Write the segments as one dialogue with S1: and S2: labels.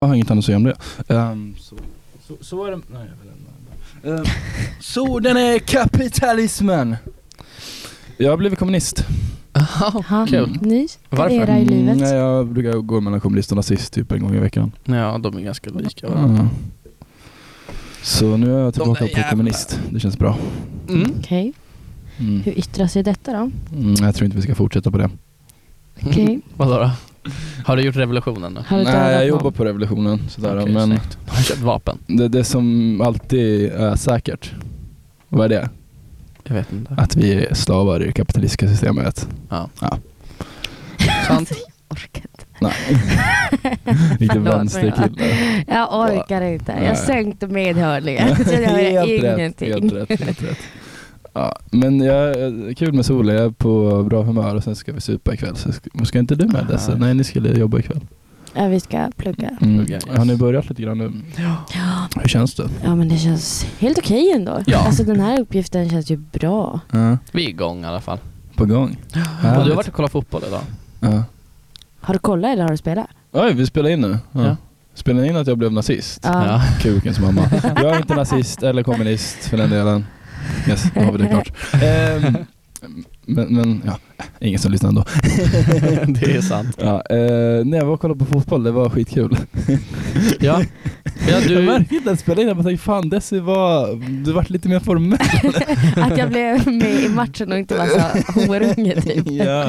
S1: Jag har inget annat att säga om det. Ehm, så, så, så är det, nej jag vill ändå- Ehm, Så den är kapitalismen! Jag har blivit kommunist. Mm,
S2: Aha.
S3: Aha,
S2: Kul.
S3: Ny
S2: Varför?
S3: era i livet.
S1: nej, jag brukar gå mellan kommunist och nazist typ en gång i veckan.
S2: Ja, de är ganska lika. va?
S1: Mm. Så nu är jag
S2: där
S1: tillbaka
S2: jävlarna.
S1: på kommunist. Det känns bra.
S2: Mm.
S3: Okej.
S1: Mm.
S3: Hur yttrar sig detta då?
S1: Mm, jag tror inte vi ska fortsätta på det.
S3: Okej.
S2: Vadå då? Har du gjort revolutionen då?
S3: Har du dödat
S1: Nej, jag
S3: någon?
S1: jobbar på revolutionen sådär,
S2: Okej,
S1: men
S2: snyggt. Har du köpt vapen?
S1: det, det som alltid är säkert, vad är det?
S2: Jag vet inte.
S1: Att vi är slavar i det kapitalistiska systemet.
S2: Sant.
S3: Orkar inte.
S1: Nej. Vilken
S3: Förlåt,
S1: vänsterkille.
S3: Jag orkar inte.
S1: Nej.
S3: Jag sökte med hörlurar. Så jag gör
S1: rätt,
S3: ingenting.
S1: helt rätt, helt rätt. Ja, men jag, eh, kul med solen, jag är på bra humör och sen ska vi supa ikväll. Så ska, ska inte du med
S2: Ah.
S1: dessa? Nej, ni skulle jobba ikväll.
S3: Ja, vi ska plugga.
S1: Mm.
S2: Okej, yes.
S1: Har ni börjat lite grann nu?
S3: Ja,
S1: Hur känns det?
S3: Ja, men det känns helt okej ändå.
S2: Ja.
S3: Alltså den här uppgiften känns ju bra.
S2: Vi är igång i alla fall.
S1: På gång.
S2: Och du
S1: Härligt.
S2: har varit och kollat fotboll idag?
S1: Ja.
S3: Har du kollat eller har du spelat?
S1: Oj, vi spelar in nu. Ja.
S2: Ja.
S1: Spelar ni in att jag blev nazist? Kukens mamma. Jag är inte nazist eller kommunist för den delen. Yes, då har vi det klart. Ehm, men, men ja, ingen som lyssnar ändå.
S2: det är sant.
S1: Ja, eh, när jag var och kollade på fotboll, det var skitkul.
S2: Ja. ja
S1: Jag
S2: du,
S1: märkte inte att spela in, jag bara tänkte fan Desi var, du vart lite mer formell.
S3: Att jag blev med i matchen och inte var så horunge typ.
S1: ja.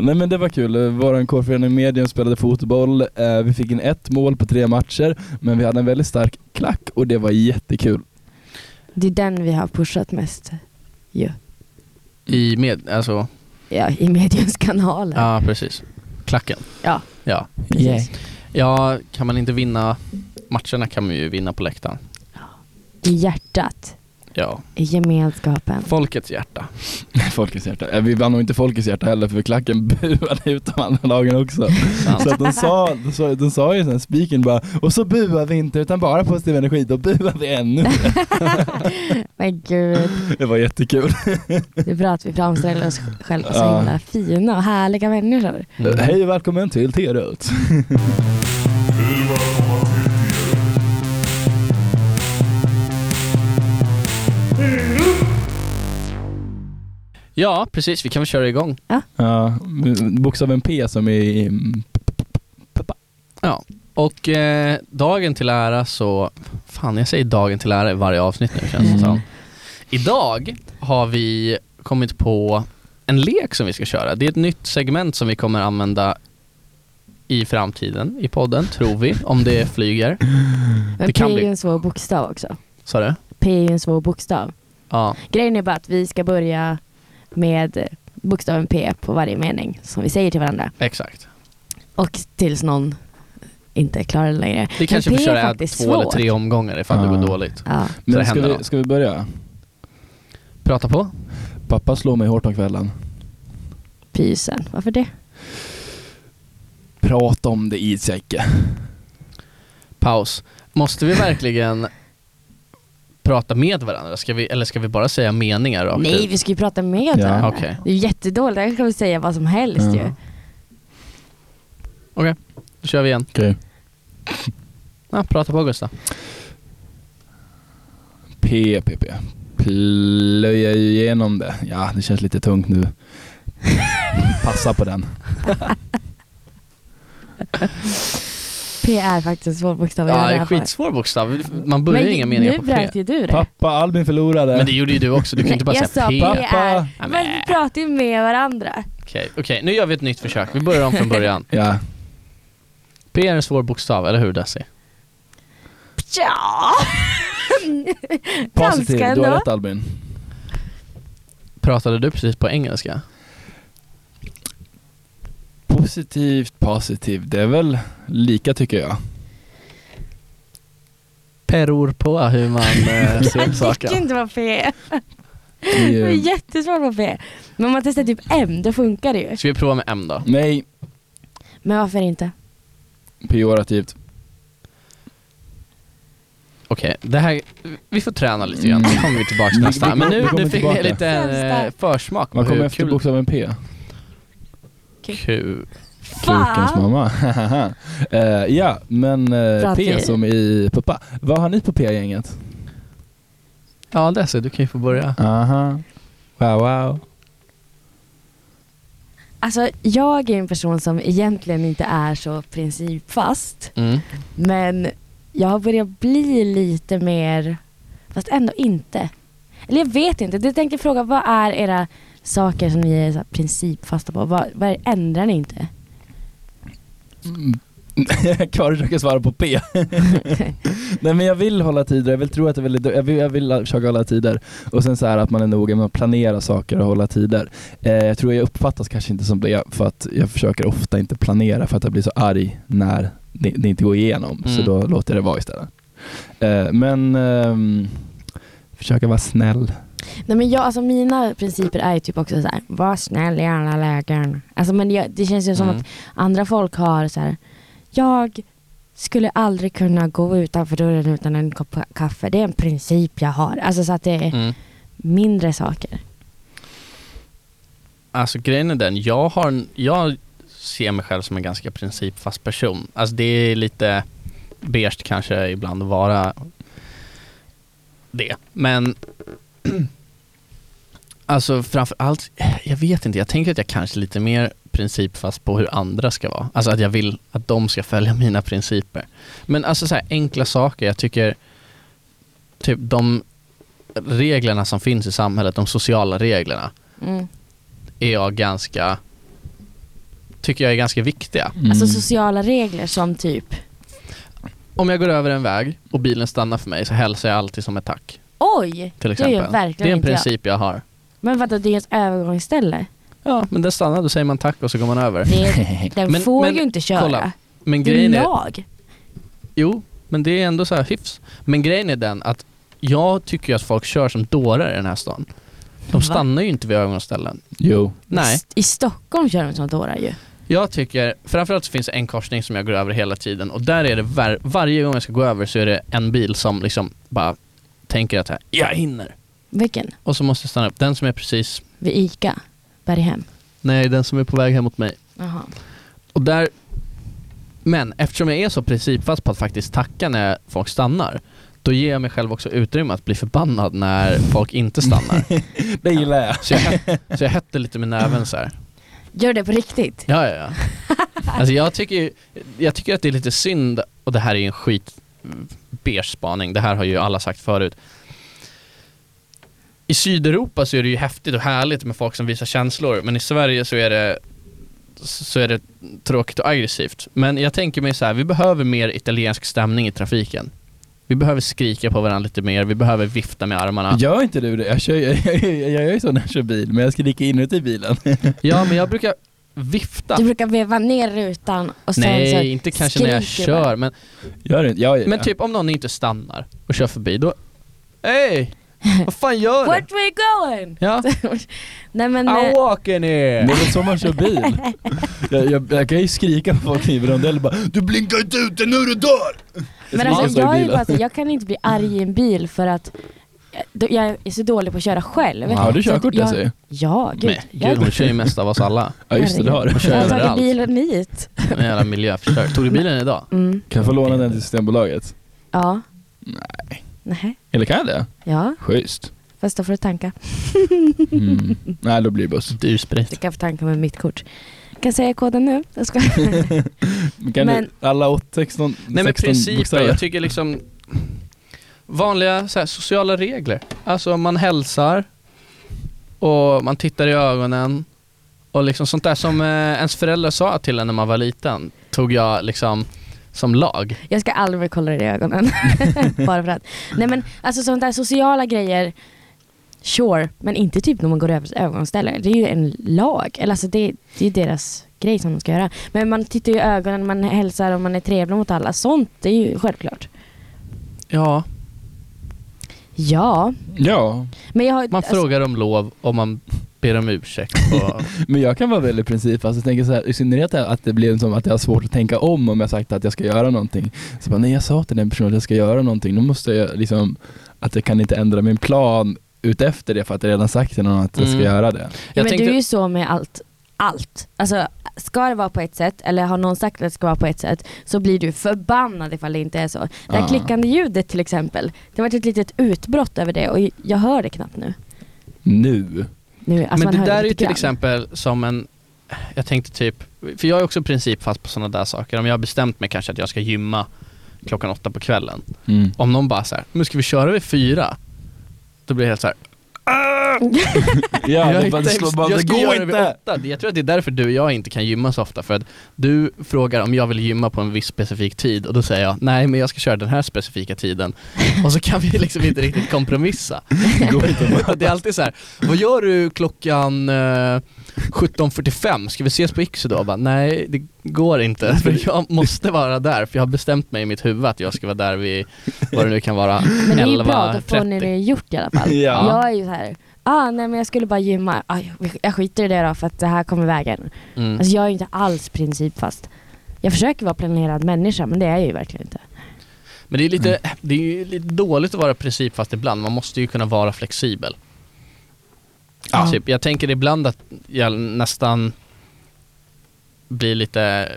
S1: Nej men det var kul, vår kårförening Medium spelade fotboll, eh, vi fick in ett mål på tre matcher, men vi hade en väldigt stark klack och det var jättekul.
S3: Det är den vi har pushat mest ju.
S2: i med, alltså,
S3: Ja, i mediens kanaler.
S2: ja precis. Klacken.
S3: Ja.
S2: Ja.
S3: Precis.
S2: Ja, kan man inte vinna matcherna kan man ju vinna på läktaren.
S3: I hjärtat,
S2: Ja.
S3: i gemenskapen.
S2: Folkets hjärta.
S1: Folkets hjärta. Eh, Vi vann nog inte folkets hjärta heller för klacken buade ut de andra lagen också.
S2: Sant.
S1: Så att de sa, de sa, de sa ju sen spiken bara, och så buar vi inte utan bara positiv energi, då buar vi ännu.
S3: Men gud,
S1: Det var jättekul.
S3: det är bra att vi framställer oss själva så
S1: Ja.
S3: himla fina och härliga människor.
S1: Eh, Hej och välkommen till T-Rut.
S2: Ja, precis. Vi kan väl köra igång.
S1: Ja, bokstaven P som är mm,
S2: Och eh, dagen till ära så, fan jag säger dagen till ära i varje avsnitt nu känns det
S3: Mm.
S2: som. Idag har vi kommit på en lek som vi ska köra. Det är ett nytt segment som vi kommer använda i framtiden i podden, tror vi, om det flyger.
S3: Men
S2: Det kan
S3: P är
S2: bli.
S3: ju en svår bokstav också.
S2: Sa du?
S3: P är ju en svår bokstav.
S2: Ja,
S3: Grejen är bara att vi ska börja med bokstaven P på varje mening som vi säger till varandra.
S2: exakt.
S3: Och tills någon inte klarar det längre.
S2: Vi kanske
S3: P är
S2: får köra två
S3: faktiskt
S2: eller
S3: svårt.
S2: tre omgångar ifall det
S1: Ja.
S2: går dåligt.
S3: Ja.
S1: Men
S2: det
S1: ska
S2: händer
S1: vi,
S2: något.
S1: ska vi börja?
S2: Prata på.
S1: Pappa slår mig hårt om kvällen.
S3: Pysen, varför det?
S1: Prata om det Isjäcke.
S2: Paus. Måste vi verkligen prata med varandra? Ska vi, eller ska vi bara säga meningar rakt
S3: Nej,
S2: ut?
S3: vi ska ju prata med
S1: Ja.
S3: varandra.
S2: Okej.
S3: Det är ju jättedåligt, där kan vi säga vad som helst
S1: Ja.
S3: ju.
S2: Okej, då kör vi igen.
S1: Okej.
S2: Ja, prata på Gustav.
S1: P, P, P. Plöja igenom det. Ja, det känns lite tungt nu. Passa på den.
S3: P är faktiskt en svår bokstav att
S2: Ja, det
S3: göra
S2: är
S3: för.
S2: skitsvår bokstav. Man börjar
S3: Men
S2: inga
S3: nu
S2: meningar på P.
S3: bröt ju du det.
S1: Pappa, Albin förlorade.
S2: Men det gjorde ju du också. Du kan inte bara
S3: jag
S2: säga
S3: sa
S2: P.
S3: P
S2: Okej,
S3: är.
S2: Ja,
S3: Men
S2: men-
S3: vi pratar ju med varandra.
S2: okej. nu gör vi ett nytt försök. Vi börjar om från början.
S1: Ja.
S2: P är en svår bokstav, eller hur Desi?
S3: Ja.
S1: Positiv,
S3: Ganska
S1: du har
S3: ändå.
S1: rätt Albin.
S2: Pratade du precis på engelska?
S1: Positivt, positiv. Det är väl lika tycker jag.
S2: Peror på hur man eh, ser
S3: Jag
S2: saker.
S3: tycker inte vad P är. Det
S1: Vi,
S3: är
S1: eh,
S3: jättesvårt vad P är. Men om man testar typ M, då funkar det ju.
S2: Ska vi prova med M då?
S1: nej,
S3: Men varför inte?
S1: pejorativt.
S2: Okej, det här, vi får träna lite grann,
S1: Mm.
S2: då kommer vi tillbaka till
S1: Vi-
S2: nästa.
S1: vi-
S2: Men nu,
S1: vi kommer
S2: nu fick
S1: tillbaka.
S2: ni lite eh,
S3: Sämsta.
S2: försmak på
S1: Vad kommer
S2: hur
S1: efter
S2: kul
S1: bokstaven P?
S2: Q
S1: Kukens
S3: Fan!
S1: mamma. Eh, ja, men eh,
S3: Bra
S1: P
S3: tid.
S1: som i puppa. Vad har ni på P-gänget?
S2: Ja, Desi, du kan ju få börja.
S1: Aha. Wow, wow.
S3: Alltså, jag är en person som egentligen inte är så principfast.
S2: Mm.
S3: Men jag har börjat bli lite mer, fast ändå inte. Eller jag vet inte, jag tänkte fråga vad är era saker som ni är så här principfasta på? Vad, vad är- ändrar ni inte?
S1: Mm. Karin försöker svara på P. Nej men jag vill hålla tider, jag vill tro att jag vill, jag vill, jag vill försöka hålla tider. Och sen så här att man är noga med att planera saker och hålla tider. Eh, jag tror jag uppfattas kanske inte som det för att jag försöker ofta inte planera för att jag blir så arg när det, det inte går igenom. Så
S2: Mm.
S1: då låter jag det vara istället. Eh, men ehm, försöka vara snäll.
S3: Nej men jag, alltså mina principer är ju typ också så här, var snäll i alla lägen. Alltså men jag, det känns ju som
S2: Mm.
S3: att andra folk har så här, jag skulle aldrig kunna gå utanför dörren utan en kopp kaffe. Det är en princip jag har. Alltså så att det är
S2: Mm.
S3: mindre saker.
S2: Alltså grejen är den, jag, har, en- jag ser mig själv som en ganska principfast person. Alltså det är lite beige kanske ibland att vara det. Men alltså framför allt, jag vet inte, jag tänker att jag kanske är lite mer principfast på hur andra ska vara. Alltså att jag vill att de ska följa mina principer. Men alltså så här enkla saker, jag tycker typ de reglerna som finns i samhället, de sociala reglerna
S3: Mm.
S2: är jag ganska tycker jag är ganska viktiga.
S3: Alltså sociala regler som typ,
S2: Om jag går över en väg och bilen stannar för mig så hälsar jag alltid som ett tack.
S3: oj!
S2: Till
S3: Det gör
S2: exempel.
S3: verkligen
S2: det är en
S3: inte
S2: princip jag. har.
S3: Men vadå, det är ett övergångsställe.
S2: Ja, men den stannar, då säger man tack och så går man över.
S3: Det,
S1: Mm.
S3: den
S2: Men-
S3: får
S2: men
S3: ju inte köra.
S2: kolla, Men
S3: det är
S2: grejen är,
S3: lag.
S2: jo, men det är ändå så här hyfs. Men grejen är den att jag tycker ju att folk kör som dårar i den här stan.
S3: Va?
S2: De stannar ju inte vid ögonställen.
S1: Jo.
S2: Nej.
S3: S- I Stockholm kör de som dårar ju.
S2: Jag tycker, framförallt så finns det en korsning som jag går över hela tiden och där är det var, varje gång jag ska gå över så är det en bil som liksom bara tänker att här, jag hinner.
S3: Vilken?
S2: Och så måste jag stanna upp. Den som är precis,
S3: Vid ICA? Berghem?
S2: nej den som är på väg hem mot mig.
S3: Jaha.
S2: Och där, men eftersom jag är så principfast på att faktiskt tacka när folk stannar, då ger jag mig själv också utrymme att bli förbannad när folk inte stannar.
S1: Det gillar jag.
S2: Så jag, så jag hette lite med näven så här.
S3: Gör det på riktigt?
S2: Ja, ja, ja. Alltså jag tycker, ju- jag tycker att det är lite synd, och det här är ju en skit beige spaning, det här har ju alla sagt förut. I Sydeuropa så är det ju häftigt och härligt med folk som visar känslor, men i Sverige så är det så är det tråkigt och aggressivt. Men jag tänker mig så här, vi behöver mer italiensk stämning i trafiken. Vi behöver skrika på varandra lite mer, vi behöver vifta med armarna.
S1: Gör inte du det? Jag, kör, jag, jag, jag gör ju så när jag kör bil, men jag skriker inuti bilen.
S2: Ja, men jag brukar vifta.
S3: Du brukar veva ner rutan och sen så
S2: Nej, inte kanske när jag
S3: skriker man.
S2: kör, men
S1: Gör du inte? Jag gör
S2: Men
S1: det.
S2: typ om någon inte stannar och kör förbi då, hej! Vad fan gör du?
S3: Where we going?
S2: Ja,
S3: Nej men, eh,
S2: I'm walking
S1: Det
S2: here!
S1: är väl så man kör bil? Jag, jag, jag kan ju skrika på folk i rondell bara Du blinkar inte ute nu du dör!
S3: men
S1: Man
S3: alltså,
S1: står i
S3: jag, är ju
S1: bilen.
S3: bara, så- jag kan inte bli arg i en bil för att jag, jag är så dålig på att köra själv.
S1: Har du
S3: Så att
S1: körkort
S3: jag-
S1: alltså?
S3: Ja, gud.
S2: Men gud, hon kör ju mest av oss alla.
S1: Ja just det, det har du.
S2: Hon
S3: jag
S2: kör
S3: har tagit
S2: överallt.
S3: bilen hit.
S2: En jävla miljöförstör. Tog du bilen idag?
S3: Mm,
S1: Kan jag få låna den till Systembolaget?
S3: ja.
S1: Nej.
S3: Nej.
S1: Eller kan jag det?
S3: Ja,
S1: Schysst.
S3: fast då får du tanka.
S1: Mm. Nej då blir det buss.
S2: Dyr sprit.
S3: Du kan få tanka med mitt kort. Kan jag säga koden nu? Jag ska...
S1: Men Kan
S3: Men-
S1: du, alla åt 16,
S2: Nej men
S1: 16
S2: principer,
S1: bokstäver?
S2: jag tycker liksom vanliga så här, sociala regler. Alltså man hälsar och man tittar i ögonen och liksom sånt där som eh, ens föräldrar sa till en när man var liten tog jag liksom som lag.
S3: Jag ska aldrig mer kolla dig i ögonen. Bara för att. Nej men alltså sånt där sociala grejer, sure. Men inte typ när man går över ögonställen. Det är ju en lag. Eller alltså det, det är ju deras grej som de ska göra. Men man tittar ju i ögonen, man hälsar och man är trevlig mot alla. Sånt det är ju självklart.
S2: Ja,
S3: Ja,
S1: Ja,
S3: men jag har
S2: Man
S3: alltså,
S2: frågar om lov och man ber om ursäkt. Och,
S1: men jag kan vara väldigt princip. Alltså, jag tänker så här, I synnerhet att det blir som att jag har svårt att tänka om om jag sagt att jag ska göra någonting. Så bara, nej jag sa till den personen att jag ska göra någonting. Då måste jag liksom, att jag kan inte ändra min plan utefter det för att jag redan sagt till någon att jag ska
S2: Mm.
S1: göra det.
S3: ja,
S2: jag
S3: men
S2: tänkte,
S3: du är ju så med allt. Allt. Alltså ska det vara på ett sätt eller har någon sagt att det ska vara på ett sätt så blir du förbannad ifall det inte är så. Det här
S1: Ah.
S3: klickande ljudet till exempel, det har varit ett litet utbrott över det och jag hör det knappt nu.
S1: Nu.
S3: nu alltså man
S2: men
S3: hör
S2: det där är ju
S3: lite
S2: till
S3: grann.
S2: exempel som en, jag tänkte typ, för jag är också principfast på sådana där saker. Om jag har bestämt mig kanske att jag ska gymma klockan åtta på kvällen.
S1: Mm.
S2: Om någon bara såhär, nu ska vi köra vid fyra? Då blir jag helt såhär,
S1: Ja,
S2: jag,
S1: det, bara, det, slår, bara, det går
S2: vid
S1: inte.
S2: åtta. Det- Jag tror att det är därför du och jag inte kan gymma så ofta. För att du frågar om jag vill gymma på en viss specifik tid och då säger jag, nej men jag ska köra den här specifika tiden. Och så kan vi liksom inte riktigt kompromissa.
S1: Det går inte.
S2: Och det är alltid så här, vad gör du klockan eh, 17.45? Ska vi ses på Iksu då? Jag Bara, nej, det går inte. För jag måste vara där, för jag har bestämt mig i mitt huvud att jag ska vara där vid, vad det nu kan vara,
S3: Men det är ju bra, då får ni
S2: 11.30.
S3: det gjort i alla fall.
S1: Ja.
S3: Jag är ju så här, ah, nej men jag skulle bara gymma, ah, jag- jag skiter i det då för att det här kommer vägen.
S2: Mm.
S3: Alltså jag är ju inte alls principfast. Jag försöker vara planerad människa men det är jag ju verkligen inte.
S2: Men det är, lite, det är ju lite dåligt att vara principfast ibland, man måste ju kunna vara flexibel.
S3: Ja.
S2: Typ, jag tänker ibland att jag nästan blir lite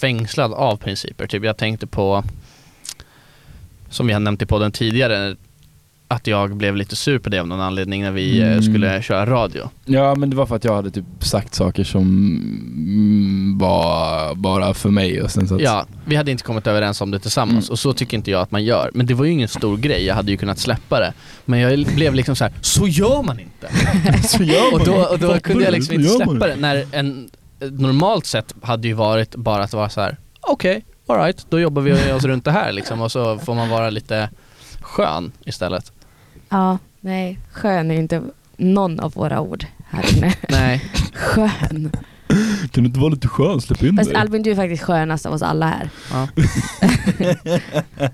S2: fängslad av principer. Typ, jag tänkte på, som vi har nämnt i podden tidigare, att jag blev lite sur på det av någon anledning när vi eh,
S1: Mm.
S2: skulle köra radio.
S1: Ja men det var för att jag hade typ sagt saker som mm, var bara för mig och sen så att,
S2: Ja, vi hade inte kommit överens om det tillsammans
S1: Mm.
S2: och så tycker inte jag att man gör. Men det var ju ingen stor grej, jag hade ju kunnat släppa det. Men jag blev liksom så här: så gör man inte!
S1: så gör man
S2: Och då,
S1: det.
S2: och då
S1: Fattar
S2: kunde
S1: du?
S2: jag
S1: Så
S2: liksom inte
S1: gör man
S2: släppa det. När en, normalt sett hade ju varit bara att vara så här: okej, alright, då jobbar vi oss runt det här liksom och så får man vara lite skön istället.
S3: Ja, nej, skön är ju inte någon av våra ord här inne.
S2: Nej.
S3: Skön.
S1: Kan du inte vara lite skön? Släpp in
S3: Fast
S1: dig.
S3: Albin du är faktiskt skönast av oss alla här.
S2: Ja.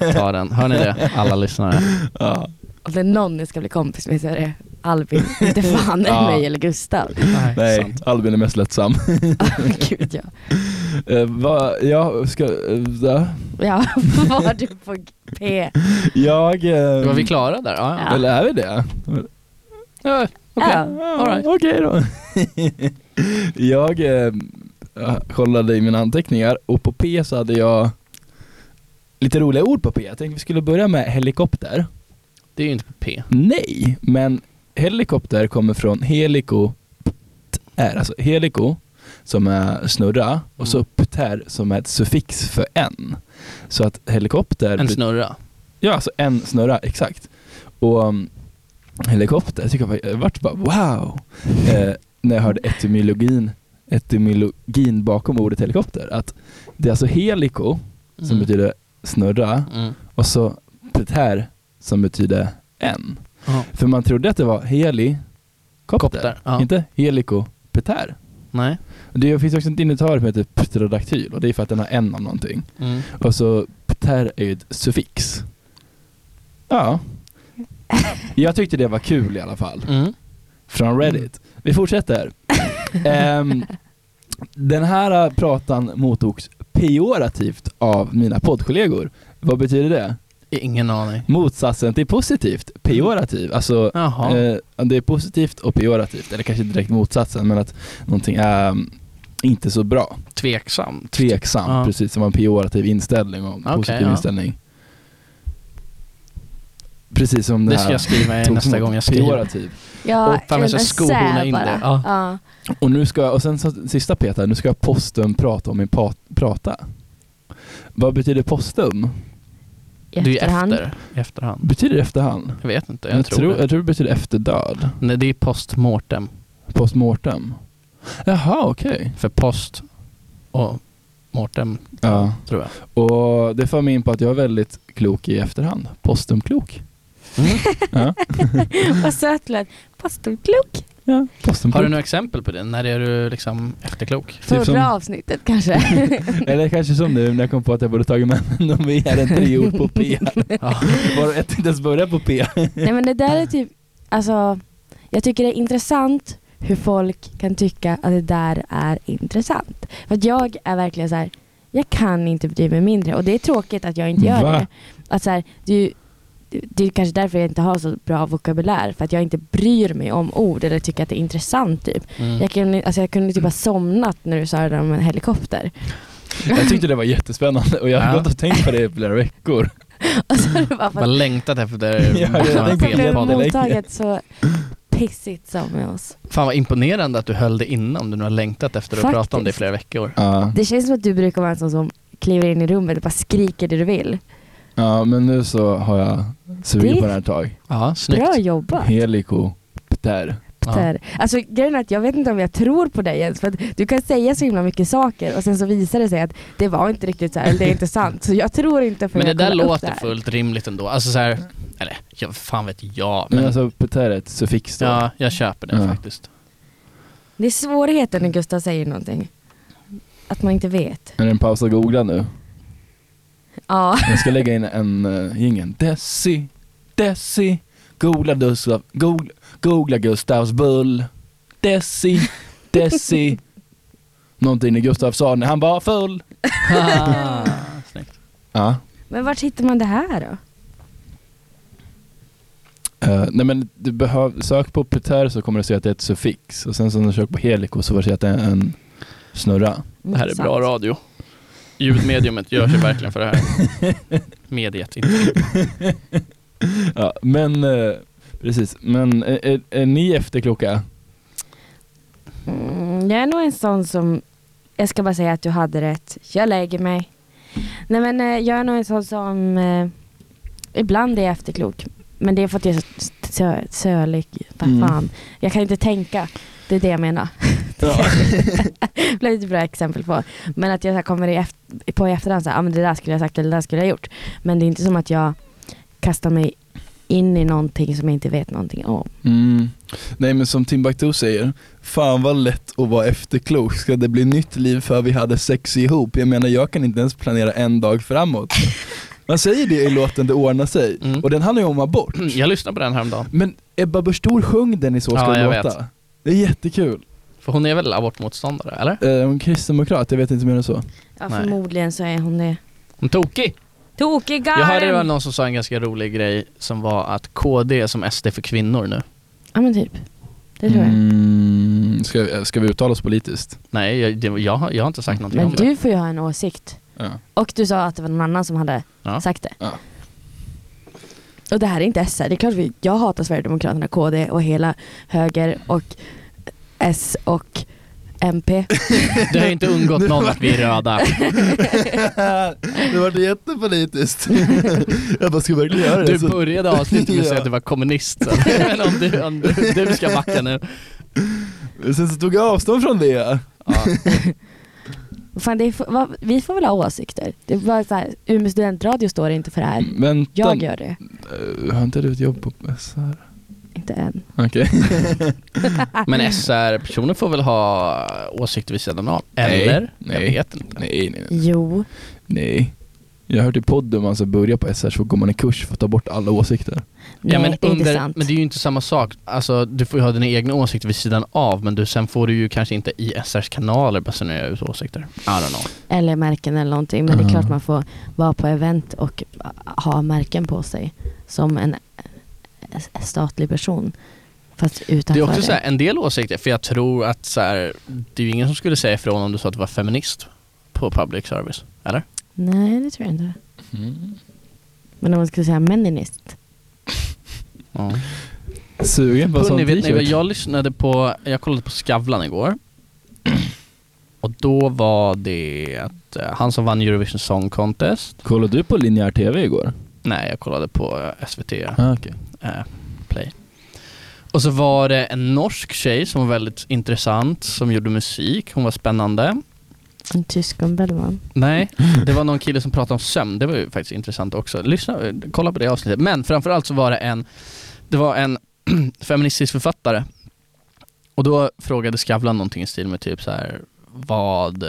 S2: Jag tar den. Hör ni det, alla lyssnare?
S1: Ja.
S3: Om det är någon jag ska bli kompis med så är det Albin, inte fan det
S1: Ja.
S3: är mig eller Gustav.
S1: Nej,
S2: sant.
S1: Albin är mest lättsam.
S3: Gud ja.
S1: Eh, va, jag ska... eh, va?
S3: Ja, var du på P?
S1: jag... eh,
S2: Då var vi klara där? Ja, ja.
S1: Eller är vi det?
S2: ja. okej.
S3: Ja.
S1: Ja,
S2: All right.
S1: Okej då. jag eh, kollade i mina anteckningar och på P så hade jag lite roliga ord på P. Jag tänkte vi skulle börja med helikopter.
S2: Det är ju inte på P.
S1: Nej, men helikopter kommer från helico är alltså helico som är snurra och så
S2: Mm.
S1: pter som är ett suffix för en. Så att helikopter
S2: En
S1: bet-
S2: snurra.
S1: Ja, alltså en snurra, exakt. Och um, helikopter, jag tycker jag var- jag vart bara wow! Eh, när jag hörde etymologin, etymologin bakom ordet helikopter. Att det är alltså helico som
S2: Mm.
S1: betyder snurra
S2: Mm.
S1: och så peter som betyder en.
S2: Ja.
S1: För man trodde att det var helikopter,
S2: Kopter, ja.
S1: inte helikopeter.
S2: Nej.
S1: Det finns också en dinosaur som heter pterodaktyl och det är för att den har en av någonting.
S2: Mm.
S1: Och så Alltså, pter är ju ett suffix. Ja. Jag tyckte det var kul i alla fall.
S2: Mm.
S1: Från Reddit. Vi fortsätter. Ehm, den här äh, pratan mottogs pejorativt av mina poddkollegor. Vad betyder det?
S2: Ingen aning.
S1: Motsatsen till positivt. Pejorativ. Alltså,
S2: Jaha.
S1: eh, det är positivt och pejorativt. Eller kanske inte direkt motsatsen, men att någonting är mm, inte så bra.
S2: Tveksamt.
S1: Tveksam,
S2: Ja.
S1: precis som en pejorativ inställning och en
S2: Okej,
S1: positiv
S2: ja.
S1: inställning. Precis som det,
S2: Det
S1: här.
S2: ska jag skriva i
S1: togs
S2: nästa
S1: emot.
S2: gång jag skriver.
S1: Pejorativ.
S3: Ja,
S2: Och fan, jag ska
S3: en
S2: skohorna
S3: essä
S2: in
S3: bara.
S2: det. Ja.
S3: Ja.
S1: Och nu ska jag, och sen så, sista Peter, nu ska jag postum prata om min pat, prata. Vad betyder postum?
S3: I
S2: Du är
S3: efterhand.
S2: efter. I efterhand.
S1: Betyder det efterhand?
S2: Jag vet inte, jag, tror, det.
S1: jag tror det betyder efter död.
S2: Nej, det är postmortem.
S1: Postmortem. Jaha, okej.
S2: För post och mortem,
S1: Ja.
S2: tror jag.
S1: Och det för mig in på att jag är väldigt klok i efterhand. Postumklok.
S2: Mm.
S1: Ja,
S3: Vad söt du lät. Pastorklok.
S2: Typ
S1: ja.
S2: Har
S1: postumklok.
S2: du några exempel på det? När är du liksom efterklok?
S3: Förra
S1: som-
S3: avsnittet kanske.
S1: Eller kanske som nu när jag kom på att jag borde tagit med mig någon mer än tre ord på P.
S2: Ja.
S1: Bara ett inte ens börja på P.
S3: Nej men det där är typ, alltså jag tycker det är intressant hur folk kan tycka att det där är intressant. För att jag är verkligen så här, jag kan inte bry mig mindre och det är tråkigt att jag inte gör
S1: Va?
S3: det. Att så här, du, det är kanske därför jag inte har så bra vokabulär. För att jag inte bryr mig om ord eller tycker att det är intressant. Typ.
S2: Mm.
S3: Jag, kunde, alltså jag kunde typ ha somnat när du sa det där om en helikopter.
S1: Jag tyckte det var jättespännande och jag har
S2: Ja.
S1: gått och tänkt på det i flera veckor.
S3: Alltså, det var för
S2: Bara
S3: att
S2: längtat efter
S1: Ja,
S2: bara
S1: jag
S2: en
S1: tänkte
S3: det blev
S2: felpodd.
S1: länge.
S3: mottaget så pissigt som med oss.
S2: Fan vad imponerande att du höll det innan om du nu har längtat efter att
S3: Faktiskt.
S2: prata om det i flera veckor.
S1: Ja,
S3: Det känns som att du brukar vara en sån som kliver in i rummet och bara skriker det du vill.
S1: ja men nu så har jag sugit
S3: Det-
S1: på det här ett tag.
S2: Ja, snyggt.
S3: Bra jobbat.
S1: Helico. Där.
S2: Ja.
S3: Där. Alltså grejen är att jag vet inte om jag tror på dig ens för att du kan säga så himla mycket saker och sen så visar det sig att det var inte riktigt så här, eller det är inte sant. Så jag tror inte för
S2: Men det
S3: jag
S2: där
S3: kollar upp
S2: låter
S3: här.
S2: fullt rimligt ändå. Alltså så här, eller ja, fan vet jag.
S1: Men
S2: Men
S1: alltså Peter är ett suffix då.
S2: ja, jag köper det
S1: Ja.
S2: faktiskt.
S3: Det är svårigheten när Gustav säger någonting. Att man inte vet.
S1: Är det en paus att googla nu?
S3: Ja.
S1: Jag ska lägga in en uh, jingel. Desi, Desi, googla Gustav, googla, googla Gustavs bull. Desi, Desi. Någonting i Gustav sa när han var full.
S2: Ah, snyggt.
S1: Ja.
S3: Men vart hittar man det här då?
S1: Eh, nej men du behöv, sök på Peter så kommer du se att det är ett suffix och sen så när du söker på helico så får du se att det är en snurra.
S2: Det här är bra radio. Ljudmediumet gör sig verkligen för det här. Mediet, inte
S1: Ja, men eh, precis, men är, är, är ni efterkloka?
S3: Mm, jag är nog en sån som, jag ska bara säga att du hade rätt, jag lägger mig. Nej men eh, jag är nog en sån som, eh, ibland är jag efterklok. Men det är för att jag är så sö, sölig, vad
S1: Mm.
S3: fan. Jag kan inte tänka, det är det jag menar.
S1: Ja.
S3: Det blev ett bra exempel på. Men att jag så här kommer i efter, på i efterhand så här, ah, men det där skulle jag sagt eller det där skulle jag gjort. Men det är inte som att jag kastar mig in i någonting som jag inte vet någonting om.
S1: Mm. Nej men som Timbuktu säger, fan vad lätt att vara efterklok, ska det bli nytt liv för vi hade sex ihop? Jag menar jag kan inte ens planera en dag framåt. Man säger det i låten Det ordnar sig,
S2: Mm.
S1: och den handlar ju om abort.
S2: Mm, Jag lyssnade på den häromdagen.
S1: Men Ebba Busch Thor sjöng den i Så ska
S2: Ja,
S1: det
S2: jag
S1: låta. Det är jättekul.
S2: För hon är väl abortmotståndare, eller?
S1: Eh, Hon är kristdemokrat, jag vet inte mer än så.
S3: Ja,
S2: Nej.
S3: förmodligen så är hon det.
S2: Hon är tokig!
S3: Tokig
S2: Jag hörde det var
S3: garen!
S2: någon som sa en ganska rolig grej som var att KD är som SD för kvinnor nu.
S3: Ja men typ. Det tror jag.
S1: Mm, ska, ska vi uttala oss politiskt?
S2: Nej, jag, det, jag, har- jag har inte sagt någonting
S3: Men
S2: om det.
S3: du får ju ha en åsikt.
S1: Ja.
S3: Och du sa att det var någon annan som hade
S2: Ja.
S3: sagt det.
S1: Ja.
S3: Och det här är inte SR. Det är klart vi, jag hatar Sverigedemokraterna, KD och hela höger och S och MP.
S2: Det har ju inte undgått någon att vi är röda.
S1: det var jättepolitiskt. jag bara, ska verkligen göra det?
S2: Du började avsnittet med att säga
S1: Ja.
S2: att du var kommunist. Men om du, om du, du ska backa nu.
S1: Sen så tog jag avstånd från det.
S2: Ja.
S3: Fan, det är, f- vad, vi får väl ha åsikter. Det är bara så här, Umeå studentradio står inte för det här.
S1: Mm, Vänta,
S3: Jag gör det.
S1: Eh, har inte du ett jobb på SR?
S3: Inte än.
S1: Okej.
S2: Men SR-personer får väl ha åsikter vid sidan av? Eller?
S1: Nej,
S2: Jag
S1: nej.
S2: vet inte.
S1: nej, nej, nej.
S3: Jo.
S1: nej. Jag har hört i podden om man ska börja på SR så går man en kurs för att ta bort alla åsikter.
S3: Nej,
S2: men,
S3: det är inte
S2: under-
S3: sant.
S2: men det är ju inte samma sak. Alltså, du får ju ha dina egna åsikter vid sidan av men du, sen får du ju kanske inte i SRs kanaler basunera ut åsikter. I don't know.
S3: Eller märken eller någonting. Men det
S1: Ja.
S3: är klart man får vara på event och ha märken på sig. Som en eh, statlig person. Fast
S2: Det är
S3: utanför
S2: också så här, en del åsikter, för jag tror att så här, det är ju ingen som skulle säga ifrån om du sa att du var feminist på public service. Eller?
S3: Nej, det tror jag inte.
S1: Mm.
S3: Men om man skulle säga meninist.
S2: Ja.
S1: Sugen på en sån
S2: Hörrni, vet ni vad
S1: t-shirt?
S2: jag lyssnade på? Jag kollade på Skavlan igår. Och då var det att eh, han som vann Eurovision Song Contest.
S1: Kollade du på linjär tv igår?
S2: Nej, jag kollade på eh, SVT
S1: Ah, okej.
S2: eh, Play. Och så var det en norsk tjej som var väldigt intressant, som gjorde musik. Hon var spännande.
S3: En tyskon Bellman.
S2: Nej, det var någon kille som pratade om sömn. Det var ju faktiskt intressant också. Lyssna, kolla på det avsnittet. Men framförallt så var det en, det var en feministisk författare. Och då frågade Skavlan någonting i stil med typ så här, vad... eh,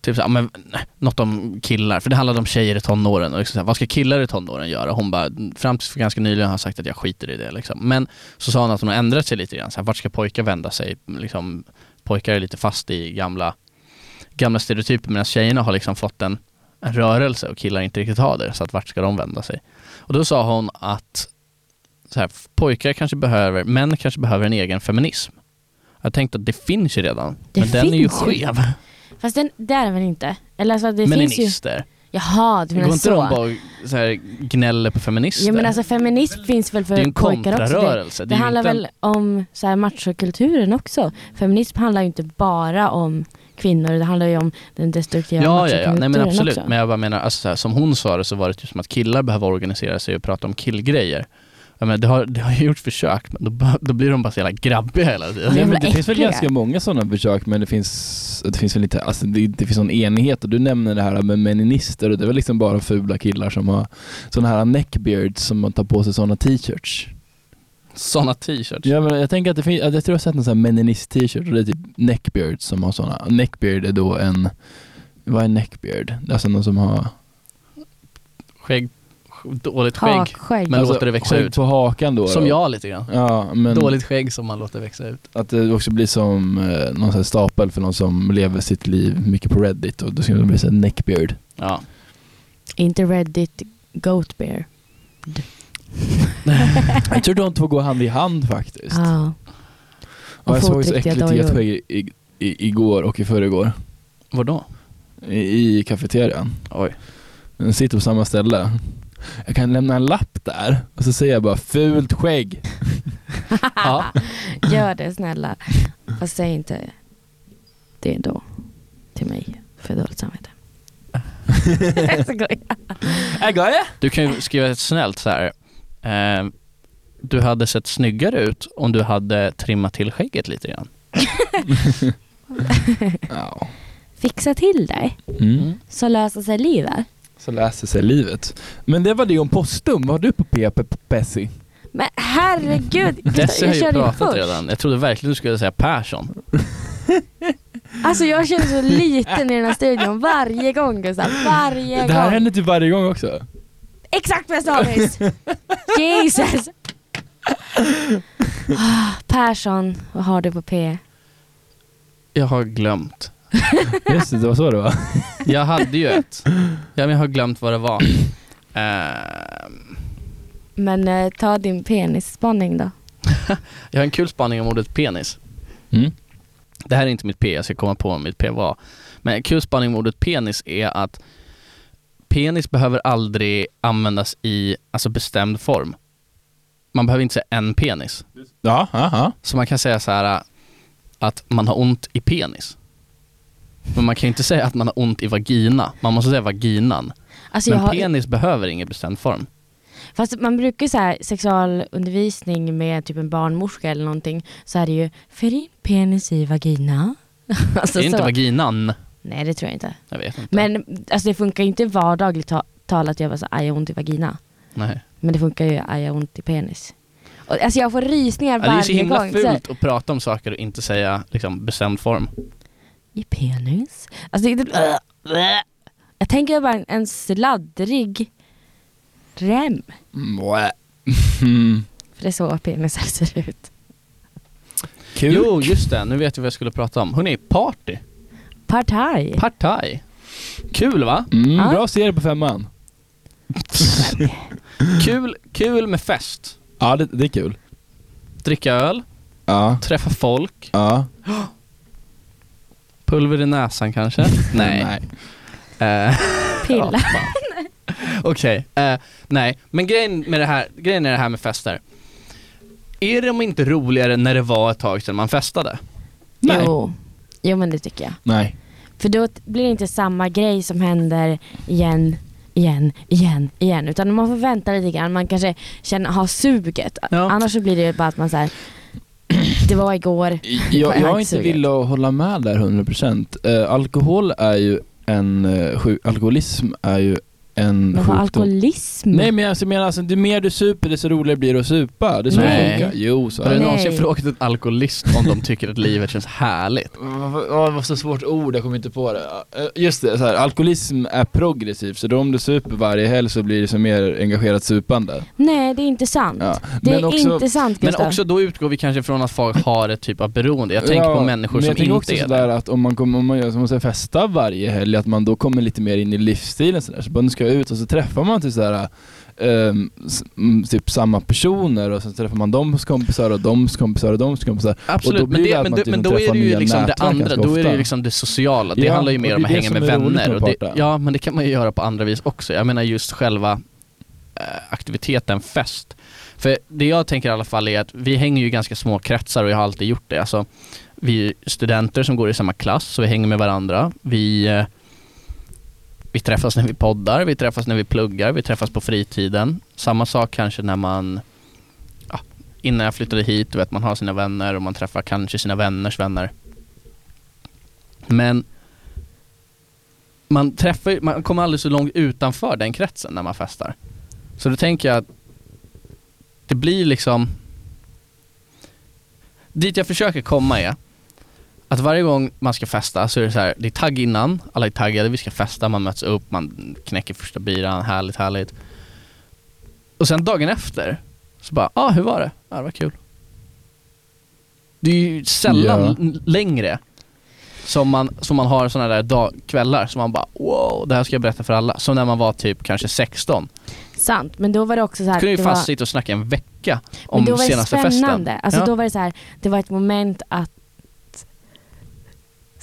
S2: Typ så här, men, nej, något om killar, för det handlade om tjejer i tonåren. Och liksom så här, vad ska killar i tonåren göra? Hon bara, fram till för ganska nyligen har jag sagt att jag skiter i det. Liksom. Men så sa hon att hon har ändrat sig lite grann. Så här, vart ska pojkar vända sig? Liksom, pojkar är lite fast i gamla gamla stereotyper medan tjejerna har liksom fått en en rörelse och killar inte riktigt har det, så att vart ska de vända sig? Och då sa hon att så här, pojkar kanske behöver, män kanske behöver en egen feminism. Jag tänkte att det finns ju redan,
S3: Det
S2: men den är ju
S3: finns ju.
S2: skev.
S3: Fast den, det är den väl inte? Eller alltså, det finns ju...
S2: Meninister.
S3: Jaha, du
S2: Går
S3: menar
S2: inte
S3: så.
S2: de bara och så här, gnäller på feminister?
S3: ja men alltså feminism finns väl
S2: det är ju
S3: för
S2: en
S3: pojkar också? Det,
S2: kontrarörelse.
S3: det
S2: är ju
S3: handlar
S2: inte en-
S3: väl om så här, machokulturen också? Feminism handlar ju inte bara om kvinnor, det handlar ju om den destruktiva
S2: Ja, ja, ja.
S3: machokulturen
S2: Nej, men absolut.
S3: också.
S2: Men jag bara menar, alltså, så här, som hon sa det så var det typ som att killar behöver organisera sig och prata om killgrejer. Jag menar, det, har, det har ju gjorts försök, men då, bör- då blir de bara så jävla grabbiga hela tiden.
S1: Nej,
S3: Jävla
S1: men det finns väl
S3: äckliga.
S1: ganska många sådana försök men det finns, det finns väl inte, alltså det, det finns någon enighet och du nämner det här med meninister och det är väl liksom bara fula killar som har sådana här neckbeards som tar på sig sådana t-shirts.
S2: Sådana t-shirts.
S1: Ja, men jag tänker att det finns, jag tror jag har sett någon sån här meninist t-shirt och det är typ neckbeard som har sådana. Neckbeard är då en, vad är neckbeard? Alltså någon som har
S2: Skägg, sj- dåligt skägg.
S3: Hakskägg.
S2: Men
S1: alltså,
S2: låter det växa
S1: skägg
S2: ut?
S1: på hakan då.
S2: Som
S1: då.
S2: jag lite grann.
S1: Ja, men
S2: Dåligt skägg som man låter växa ut.
S1: att det också blir som eh, någon sån här stapel för någon som lever sitt liv mycket på Reddit och då skulle det bli såhär neckbeard.
S2: Ja.
S3: Inte Reddit Goat Bear.
S1: Jag tror de två går hand i hand faktiskt.
S3: Ja.
S1: och jag
S3: och
S1: såg så
S3: fotriktiga
S1: äckligt i ett
S3: dojor.
S1: skägg i, i, igår och i förrgår
S2: Var då?
S1: i, i kafeterian.
S2: Oj.
S1: Den sitter på samma ställe. Jag kan lämna en lapp där och så säger jag bara fult skägg.
S2: Ja.
S3: Gör det snälla. Fast säg inte det då till mig. För dåligt samvete. Så går jag.
S1: Jag går jag.
S2: Du kan ju skriva ett snällt så här. Eh, du hade sett snyggare ut om du hade trimmat till skägget lite grann.
S1: Ja.
S3: Fixa till dig
S1: Mm.
S3: så löser sig livet.
S1: Så läser sig livet. Men det var det om Postum. Vad har du på PP Pessi?
S3: Men herregud.
S2: Desse har
S3: jag
S2: ju
S3: körde ju
S2: pratat
S3: först.
S2: redan. Jag trodde verkligen du skulle säga Persson.
S3: Alltså jag känner så liten i den här studion varje gång Gustav. Varje
S1: Det här
S3: gång.
S1: händer typ varje gång också.
S3: Exakt vad jag sa nyss. Jesus. Ah, Persson, vad har du på P?
S2: Jag har glömt.
S1: Just det, det var så det var.
S2: Jag hade ju ett. Ja, men jag har glömt vad det var. Ehm,
S3: Men eh, ta din penisspaning då.
S2: jag har en kul spaning om ordet penis.
S1: Mm.
S2: Det här är inte mitt P, jag ska komma på vad mitt P var. Men en kul spaning om ordet penis är att penis behöver aldrig användas i alltså bestämd form. Man behöver inte säga en penis.
S1: Ja, aha.
S2: Så man kan säga så här äh, att man har ont i penis. Men man kan ju inte säga att man har ont i vagina. Man måste säga vaginan.
S3: Alltså, jag
S2: Men
S3: har,
S2: penis behöver ingen bestämd form.
S3: Fast man brukar ju så här sexualundervisning med typ en barnmorska eller någonting så är det ju för in penis i vagina. alltså,
S2: det är inte
S3: så.
S2: vaginan.
S3: Nej det tror jag inte.
S2: Jag vet inte.
S3: Men alltså, det funkar ju inte vardagligt ta- tal att jag bara så aj jag har ont i vagina.
S2: Nej.
S3: Men det funkar ju aj jag har ont i penis. Och, alltså jag får rysningar
S2: Ja, det är så
S3: varje
S2: himla
S3: gång. Så här,
S2: fult att prata om saker och inte säga liksom, bestämd form.
S3: I penis? Alltså det är inte... Jag tänker bara en, en sladdrig rem.
S1: Mwah. Mm.
S3: För det är så penisar ser ut.
S1: Kul.
S2: Jo, just det. Nu vet jag vad jag skulle prata om. Hörrni, party.
S3: Partaj.
S2: Partaj. Kul va?
S1: Mm,
S3: Ja.
S1: Bra serie på femman.
S2: Kul, kul med fest.
S1: Ja, det, det är kul.
S2: Dricka öl,
S1: Ja.
S2: träffa folk,
S1: Ja.
S2: pulver i näsan kanske? Nej. Eh,
S3: Pilla.
S2: Okej, eh, nej. Men grejen med det här, grejen är det här med fester. Är de inte roligare när det var ett tag sedan man festade?
S1: Nej.
S3: Jo. jo, men det tycker jag.
S1: Nej.
S3: För då t- blir det inte samma grej som händer igen, igen, igen, igen. Utan man får vänta lite grann. Man kanske känner, har suget.
S2: Ja.
S3: Annars så blir det ju bara att man säger det var igår.
S1: Jag, jag är inte
S3: Hacksuget.
S1: villig att hålla med där 100%. Eh, alkohol är ju en, eh, sjuk, alkoholism är ju en
S3: Men vad
S1: sjukdom.
S3: alkoholism?
S1: Nej men alltså, jag menar alltså, ju mer du super desto roligare blir det att supa. Det är så
S2: Nej.
S1: det funkar. Jo, så är
S2: Har
S1: det.
S2: du
S3: Nej.
S2: någonsin frågat en alkoholist om de tycker att livet känns härligt?
S1: Ja, det var så svårt ord, jag kommer inte på det. Eh, Just det, så här, alkoholism är progressiv, så då om du super varje helg så blir det som mer engagerat supande.
S3: Nej, det är inte sant.
S1: Ja.
S3: Det
S1: Men
S3: är
S1: också-
S3: inte sant
S2: Men
S3: Gustav.
S2: också då utgår vi kanske från att folk har ett typ av beroende. Jag tänker
S1: Ja,
S2: på människor
S1: men
S2: som
S1: jag tänker också
S2: inte är
S1: sådär
S2: det.
S1: att om man, kommer, om man gör som man säger, festa varje helg, att man då kommer lite mer in i livsstilen sådär. Så bara nu ska jag ut och så träffar man typ sådär ehm, s- mm, typ samma personer och så träffar man dems kompisar och dems kompisar och dems kompisar.
S2: Absolut,
S1: och då
S2: men,
S1: blir det
S2: det,
S1: att
S2: men,
S1: man
S2: det,
S1: typ
S2: men
S1: inte
S2: då är
S1: träffar
S2: det ju
S1: nya
S2: liksom det
S1: nätverk
S2: andra,
S1: ganska
S2: då är det
S1: ofta.
S2: ju liksom det sociala. Det
S1: Ja,
S2: handlar ju
S1: och
S2: mer
S1: det
S2: om
S1: är
S2: att
S1: det
S2: hänga
S1: som
S2: med
S1: är roligt
S2: vänner.
S1: med
S2: Och det,
S1: parter.
S2: ja, men det kan man ju göra på andra vis också. Jag menar just själva eh, aktiviteten fest. För det jag tänker i alla fall är att vi hänger ju i ganska små kretsar och jag har alltid gjort det. Alltså, vi är studenter som går i samma klass, så vi hänger med varandra. Vi, eh, vi träffas när vi poddar, vi träffas när vi pluggar, vi träffas på fritiden. Samma sak kanske när man, ja, innan jag flyttade hit, du vet man har sina vänner och man träffar kanske sina vänners vänner. Men man, träffar, ju- man kommer aldrig så långt utanför den kretsen när man festar. Så då tänker jag att det blir liksom... Dit jag försöker komma är att varje gång man ska festa så är det så här, det är tagg innan, alla är taggade, vi ska festa, man möts upp, man knäcker första biran, härligt, härligt. Och sen dagen efter så bara, ah hur var det? Ja ah, det var kul. Det är ju sällan
S1: Ja.
S2: l- längre som man, som man har sådana där dag, kvällar som man bara wow, det här ska jag berätta för alla. Som när man var typ kanske 16.
S3: Sant, men då var det också så här.
S2: kunde ju
S3: det
S2: fast
S3: var...
S2: sitta och snacka en vecka
S3: Men
S2: om
S3: då var det
S2: senaste festen.
S3: spännande. Alltså
S2: Ja.
S3: då var det så här, det var ett moment att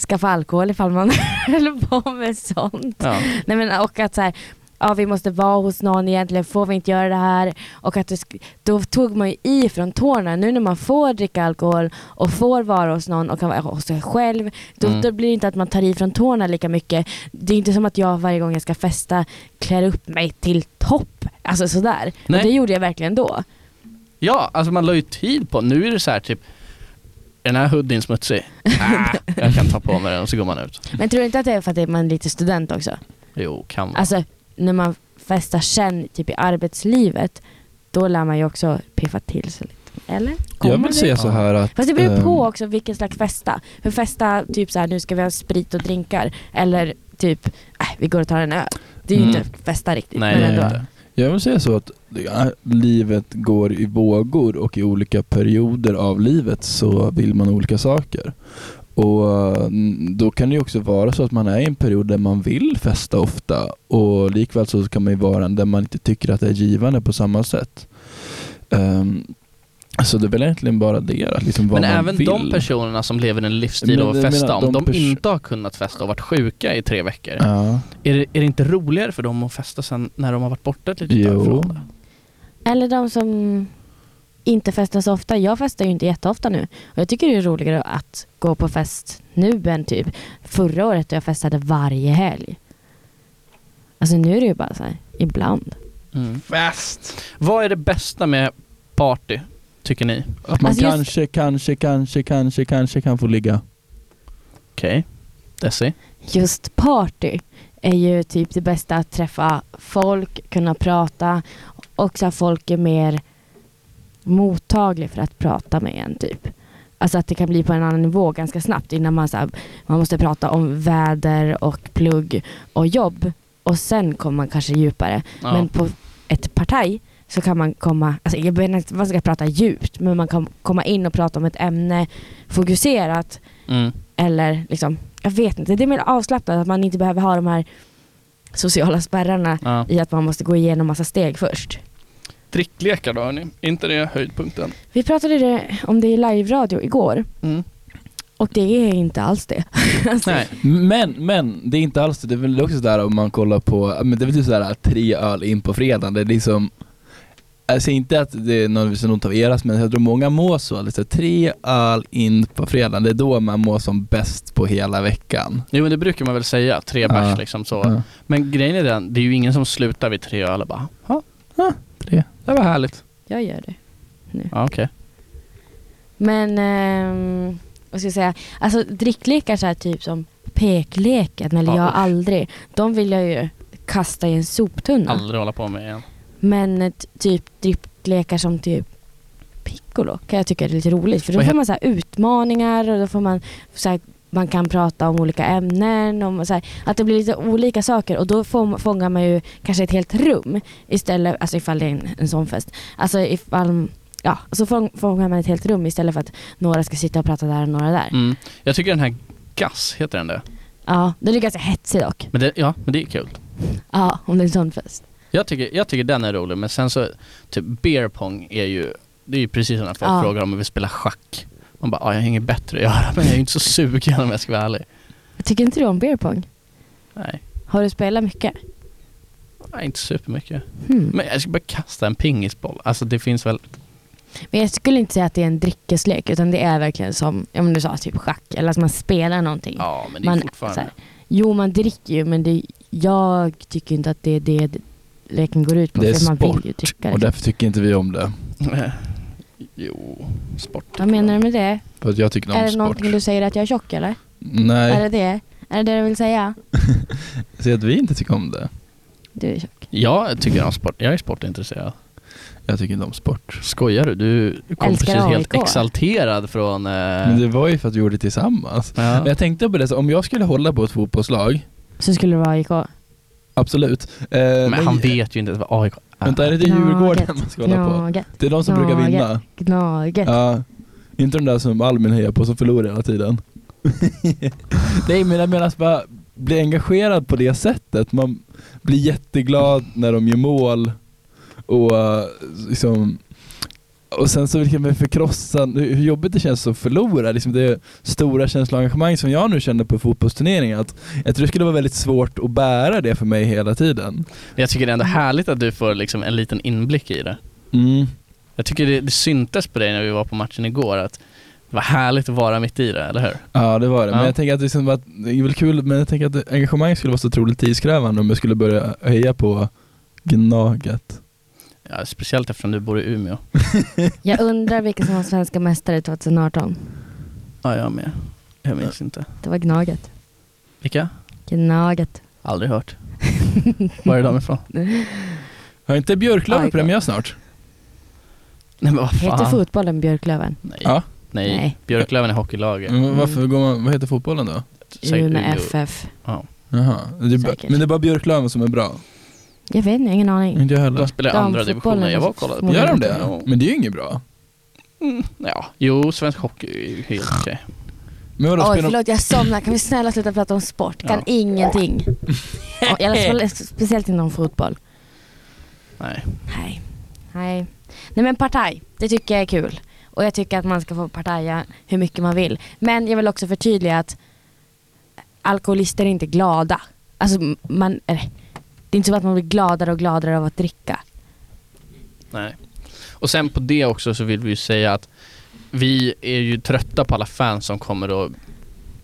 S3: skaffa alkohol ifall man höll på med sånt.
S2: Ja.
S3: Nej men och att så här, ja vi måste vara hos någon egentligen, får vi inte göra det här? Och att det, sk- då tog man ju i från tårna. Nu när man får dricka alkohol och får vara hos någon och kan vara hos sig själv, då,
S2: Mm.
S3: då blir det inte att man tar i från tårna lika mycket. Det är inte som att jag varje gång jag ska festa klär upp mig till topp. Alltså sådär.
S2: Nej.
S3: Och det gjorde jag verkligen då.
S2: ja, alltså man la ju tid på. Nu är det så här typ, är den här hoodien smutsig? Ah, jag kan ta på mig den och så går man ut.
S3: Men tror du inte att det är för att det är- man är lite student också?
S2: Jo, kan vara.
S3: Alltså när man festar sen typ i arbetslivet, då lär man ju också piffa till sig lite. Eller?
S1: Jag
S3: Kommer
S1: vill
S3: det?
S1: säga så här att...
S3: Fast det beror ju på
S1: ehm,
S3: också vilken slags festa. För festa, typ så här, nu ska vi ha sprit och drinkar. Eller typ, äh, vi går och tar en öl. Det är ju
S2: Mm.
S3: inte festa riktigt.
S2: Nej,
S3: men
S2: det är
S3: ändå.
S2: inte.
S1: Jag vill säga så att ja, livet går i vågor och i olika perioder av livet så vill man olika saker. Och mm, då kan det ju också vara så att man är i en period där man vill festa ofta och likväl så kan man ju vara en där man inte tycker att det är givande på samma sätt. Ehm, så det är väl egentligen bara det, att liksom vad
S2: Men
S1: man
S2: även
S1: vill.
S2: de personerna som lever en livsstil
S1: Men
S2: av
S1: jag
S2: att
S1: menar,
S2: festa,
S1: de
S2: om de,
S1: pers-
S2: inte har kunnat festa och varit sjuka i tre veckor,
S1: Ja.
S2: är, det, är det inte roligare för dem att festa sen när de har varit borta ett litet tag
S1: Jo.
S2: från det?
S3: Eller de som inte festar så ofta. Jag festar ju inte jätteofta nu. Och jag tycker det är roligare att gå på fest nu än typ förra året då jag festade varje helg. Alltså nu är det ju bara så här, ibland.
S2: Mm. Fest! Vad är det bästa med party, tycker ni?
S1: Att man
S3: Alltså just-
S1: kanske, kanske, kanske, kanske, kanske kan få ligga.
S2: Okej, Desi?
S3: Just party är ju typ det bästa att träffa folk, kunna prata och så att folk är mer mottaglig för att prata med en typ. Alltså att det kan bli på en annan nivå ganska snabbt innan man, så här, man måste prata om väder och plugg och jobb och sen kommer man kanske djupare.
S2: Ja.
S3: Men på ett partaj så kan man komma, alltså jag menar inte att man ska prata djupt men man kan komma in och prata om ett ämne fokuserat
S2: Mm.
S3: eller liksom, jag vet inte. Det är mer avslappnat att man inte behöver ha de här sociala spärrarna
S2: Ja.
S3: i att man måste gå igenom massa steg först.
S2: Dricklekar då hörni, inte det höjdpunkten?
S3: Vi pratade det- om det i live-radio igår
S2: Mm.
S3: och det är inte alls det. Alltså,
S2: Nej.
S1: Men, men det är inte alls det. Det är väl också sådär om man kollar på, men det är väl typ sådär tre öl in på fredagen. Det är liksom, jag säger inte att det är någon som ont av eras, men jag tror många mår så. Liksom, tre öl in på fredagen, det är då man mår som bäst på hela veckan.
S2: Jo men det brukar man väl säga, tre
S1: Ja.
S2: bärs liksom så.
S1: Ja.
S2: Men grejen är den, det är ju ingen som slutar vid tre öl och bara ja,
S1: Tre.
S2: det var härligt.
S3: jag gör det.
S2: Ja okej.
S3: Men, ehm, vad ska jag säga, alltså dricklekar så här typ som pekleken eller
S2: Ja,
S3: jag
S2: usch.
S3: aldrig, de vill jag ju kasta i en soptunna.
S2: Aldrig hålla på med igen.
S3: Men eh, t- typ dripplekar som typ piccolo kan jag tycka är lite roligt för då
S2: Vad
S3: får
S2: het-
S3: man så här utmaningar och då får man så här, man kan prata om olika ämnen, om, så här, att det blir lite olika saker och då får, fångar man ju kanske ett helt rum istället, alltså ifall det är en, en sån fest. Alltså ifall, ja, så fång, fångar man ett helt rum istället för att några ska sitta och prata där och några där.
S2: Mm. Jag tycker den här Gass, heter den det?
S3: Ja, den är ganska hetsig dock.
S2: Men det ja, men det är kul.
S3: Ja, om det är en sån fest.
S2: Jag tycker, jag tycker den är rolig, men sen så, typ beer pong är ju, det är ju precis som när folk
S3: Ja.
S2: frågar om vi vill spela schack. Man bara, ah, jag har inget bättre att göra, men jag är ju inte så sugen om jag ska vara ärlig.
S3: Tycker inte du om beer pong?
S2: Nej,
S3: Har du spelat mycket?
S2: nej inte supermycket.
S3: Hmm.
S2: Men jag ska bara kasta en pingisboll. Alltså det finns väl,
S3: Men jag skulle inte säga att det är en dryckeslek utan det är verkligen som, ja men du sa typ schack, eller att man spelar någonting.
S2: ja men det är
S3: Man-
S2: fortfarande.
S3: så här. Jo man dricker ju men det, jag tycker inte att det är det leken går ut på.
S1: Det är
S3: för man
S1: sport,
S3: vill ju dricka.
S1: Och
S3: Liksom.
S1: därför tycker inte vi om det.
S2: jo, sport.
S3: Vad menar du med det?
S1: För att jag tycker
S3: är
S1: om
S3: det
S1: sport.
S3: någonting du säger att jag är tjock eller? Är
S1: Nej,
S3: det det? Är det det du vill säga?
S1: säg att vi inte tycker om det.
S3: Du är tjock.
S2: Jag tycker om sport, jag är sportintresserad.
S1: Jag tycker inte om sport.
S2: Skojar du? Du kom
S3: Älskar
S2: precis helt
S3: AIK.
S2: exalterad från... Eh,
S1: Men det var ju för att vi gjorde det tillsammans.
S2: ja.
S1: Men jag tänkte på det, så om jag skulle hålla på ett fotbollslag,
S3: Så skulle det vara AIK.
S1: absolut. Eh,
S2: men
S1: nej,
S2: han vet ju inte ens vad AIK är.
S1: Vänta, är det inte Djurgården man ska hålla på?
S3: Gnaget,
S1: Det är de som
S3: Gnaget.
S1: brukar vinna.
S3: gnaget.
S1: Ja. Inte de där som allmän hejar på som förlorar hela tiden. Nej men jag menar att bara bli engagerad på det sättet. Man blir jätteglad när de gör mål och eh, liksom och sen så vilken förkrossan, hur hur jobbigt det känns att förlora. Liksom det stora känsloengagemang som jag nu känner på fotbollsturneringar. Att jag tror det skulle vara väldigt svårt att bära det för mig hela tiden.
S2: Jag tycker det är ändå härligt att du får liksom en liten inblick i det.
S1: Mm.
S2: Jag tycker det, det syntes på dig när vi var på matchen igår att det var härligt att vara mitt i det, eller hur?
S1: Ja det var det, men
S2: Ja.
S1: jag tänker att det, liksom var, det är väl kul, men jag tänker att engagemang skulle vara så otroligt tidskrävande om jag skulle börja heja på Gnaget.
S2: Ja, speciellt eftersom du bor i Umeå.
S3: Jag undrar vilka som var svenska mästare 2018.
S2: Ja, jag med. Jag minns inte.
S3: Det var Gnaget.
S2: Vilka?
S3: Gnaget.
S2: Aldrig hört. Var är de ifrån?
S1: Har inte Björklöven
S3: AIK.
S1: premiär snart?
S2: Nej men vad
S3: Hette
S2: fan.
S3: fotbollen Björklöven?
S2: Nej.
S1: Ja.
S2: Nej.
S3: Nej.
S2: Björklöven är hockeylaget.
S1: Men varför går man, vad heter fotbollen då?
S2: Säkert
S3: Umeå
S2: Umeå.
S3: FF.
S1: Jaha, det är bara,
S3: Säkert.
S1: men det är bara Björklöven som är bra?
S3: Jag vet inte, ingen aning.
S1: Inte jag
S2: De
S1: heller.
S2: spelar i andra
S3: Damfotbollen
S2: divisionen. Jag var och
S3: är
S2: kollade.
S3: så
S2: på-
S1: Gör de
S2: Ja.
S1: det? Men det är ju inget bra.
S2: Ja, jo, svensk hockey är ju helt okej.
S1: Men vadå,
S3: Oj
S1: spelar de,
S3: förlåt jag somnar, kan vi snälla sluta prata om sport? Kan
S2: Ja.
S3: ingenting. Ja, I alla fall speciellt inom fotboll.
S2: Nej.
S3: Nej. Nej. Nej men partaj, det tycker jag är kul. Och jag tycker att man ska få partaja hur mycket man vill. Men jag vill också förtydliga att alkoholister är inte glada. Alltså man, eller, det är inte så att man blir gladare och gladare av att dricka.
S2: Nej. Och sen på det också så vill vi ju säga att vi är ju trötta på alla fans som kommer och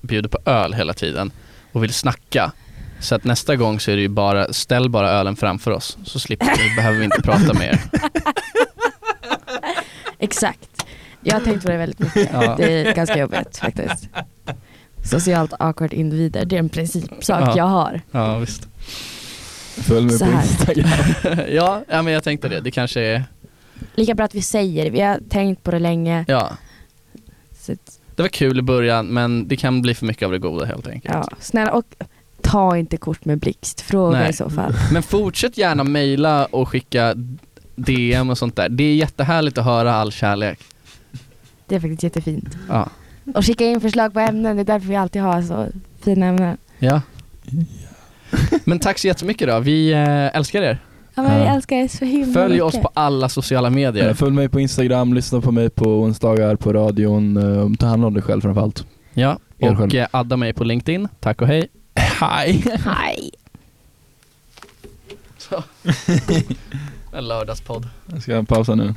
S2: bjuder på öl hela tiden och vill snacka. Så att nästa gång så är det ju bara, ställ bara ölen framför oss så slipper vi, behöver vi inte prata med er.
S3: Exakt. Jag har tänkt på det väldigt mycket.
S2: Ja.
S3: Det är ganska jobbigt faktiskt. Socialt awkward individer, det är en principsak
S2: Ja.
S3: jag har.
S2: Ja, visst.
S1: följ med
S3: Så
S1: på
S3: här.
S1: Instagram.
S2: ja, ja, men jag tänkte det. Det kanske är,
S3: Lika bra att vi säger det, vi har tänkt på det länge.
S2: ja.
S3: Så, att,
S2: Det var kul i början men det kan bli för mycket av det goda helt enkelt.
S3: ja. Snälla, och ta inte kort med blixt, fråga
S2: Nej.
S3: i så fall.
S2: Men fortsätt gärna mejla och skicka DM och sånt där. Det är jättehärligt att höra all kärlek.
S3: Det är faktiskt jättefint.
S2: Ja.
S3: Och skicka in förslag på ämnen, det är därför vi alltid har så fina ämnen.
S2: Ja. Men tack så jättemycket då. Vi eh, älskar er.
S3: Ja, men vi
S1: Ja.
S3: älskar er så himla
S2: Följ
S3: mycket.
S2: oss på alla sociala medier.
S1: Följ mig på Instagram, lyssna på mig på onsdagar på radion. eh, Ta hand om dig själv framförallt.
S2: Ja.
S1: Er
S2: Och
S1: själv.
S2: eh, adda mig på LinkedIn. Tack och hej.
S1: Hej!
S3: Hej.
S2: En lördagspodd.
S1: Jag ska pausa nu.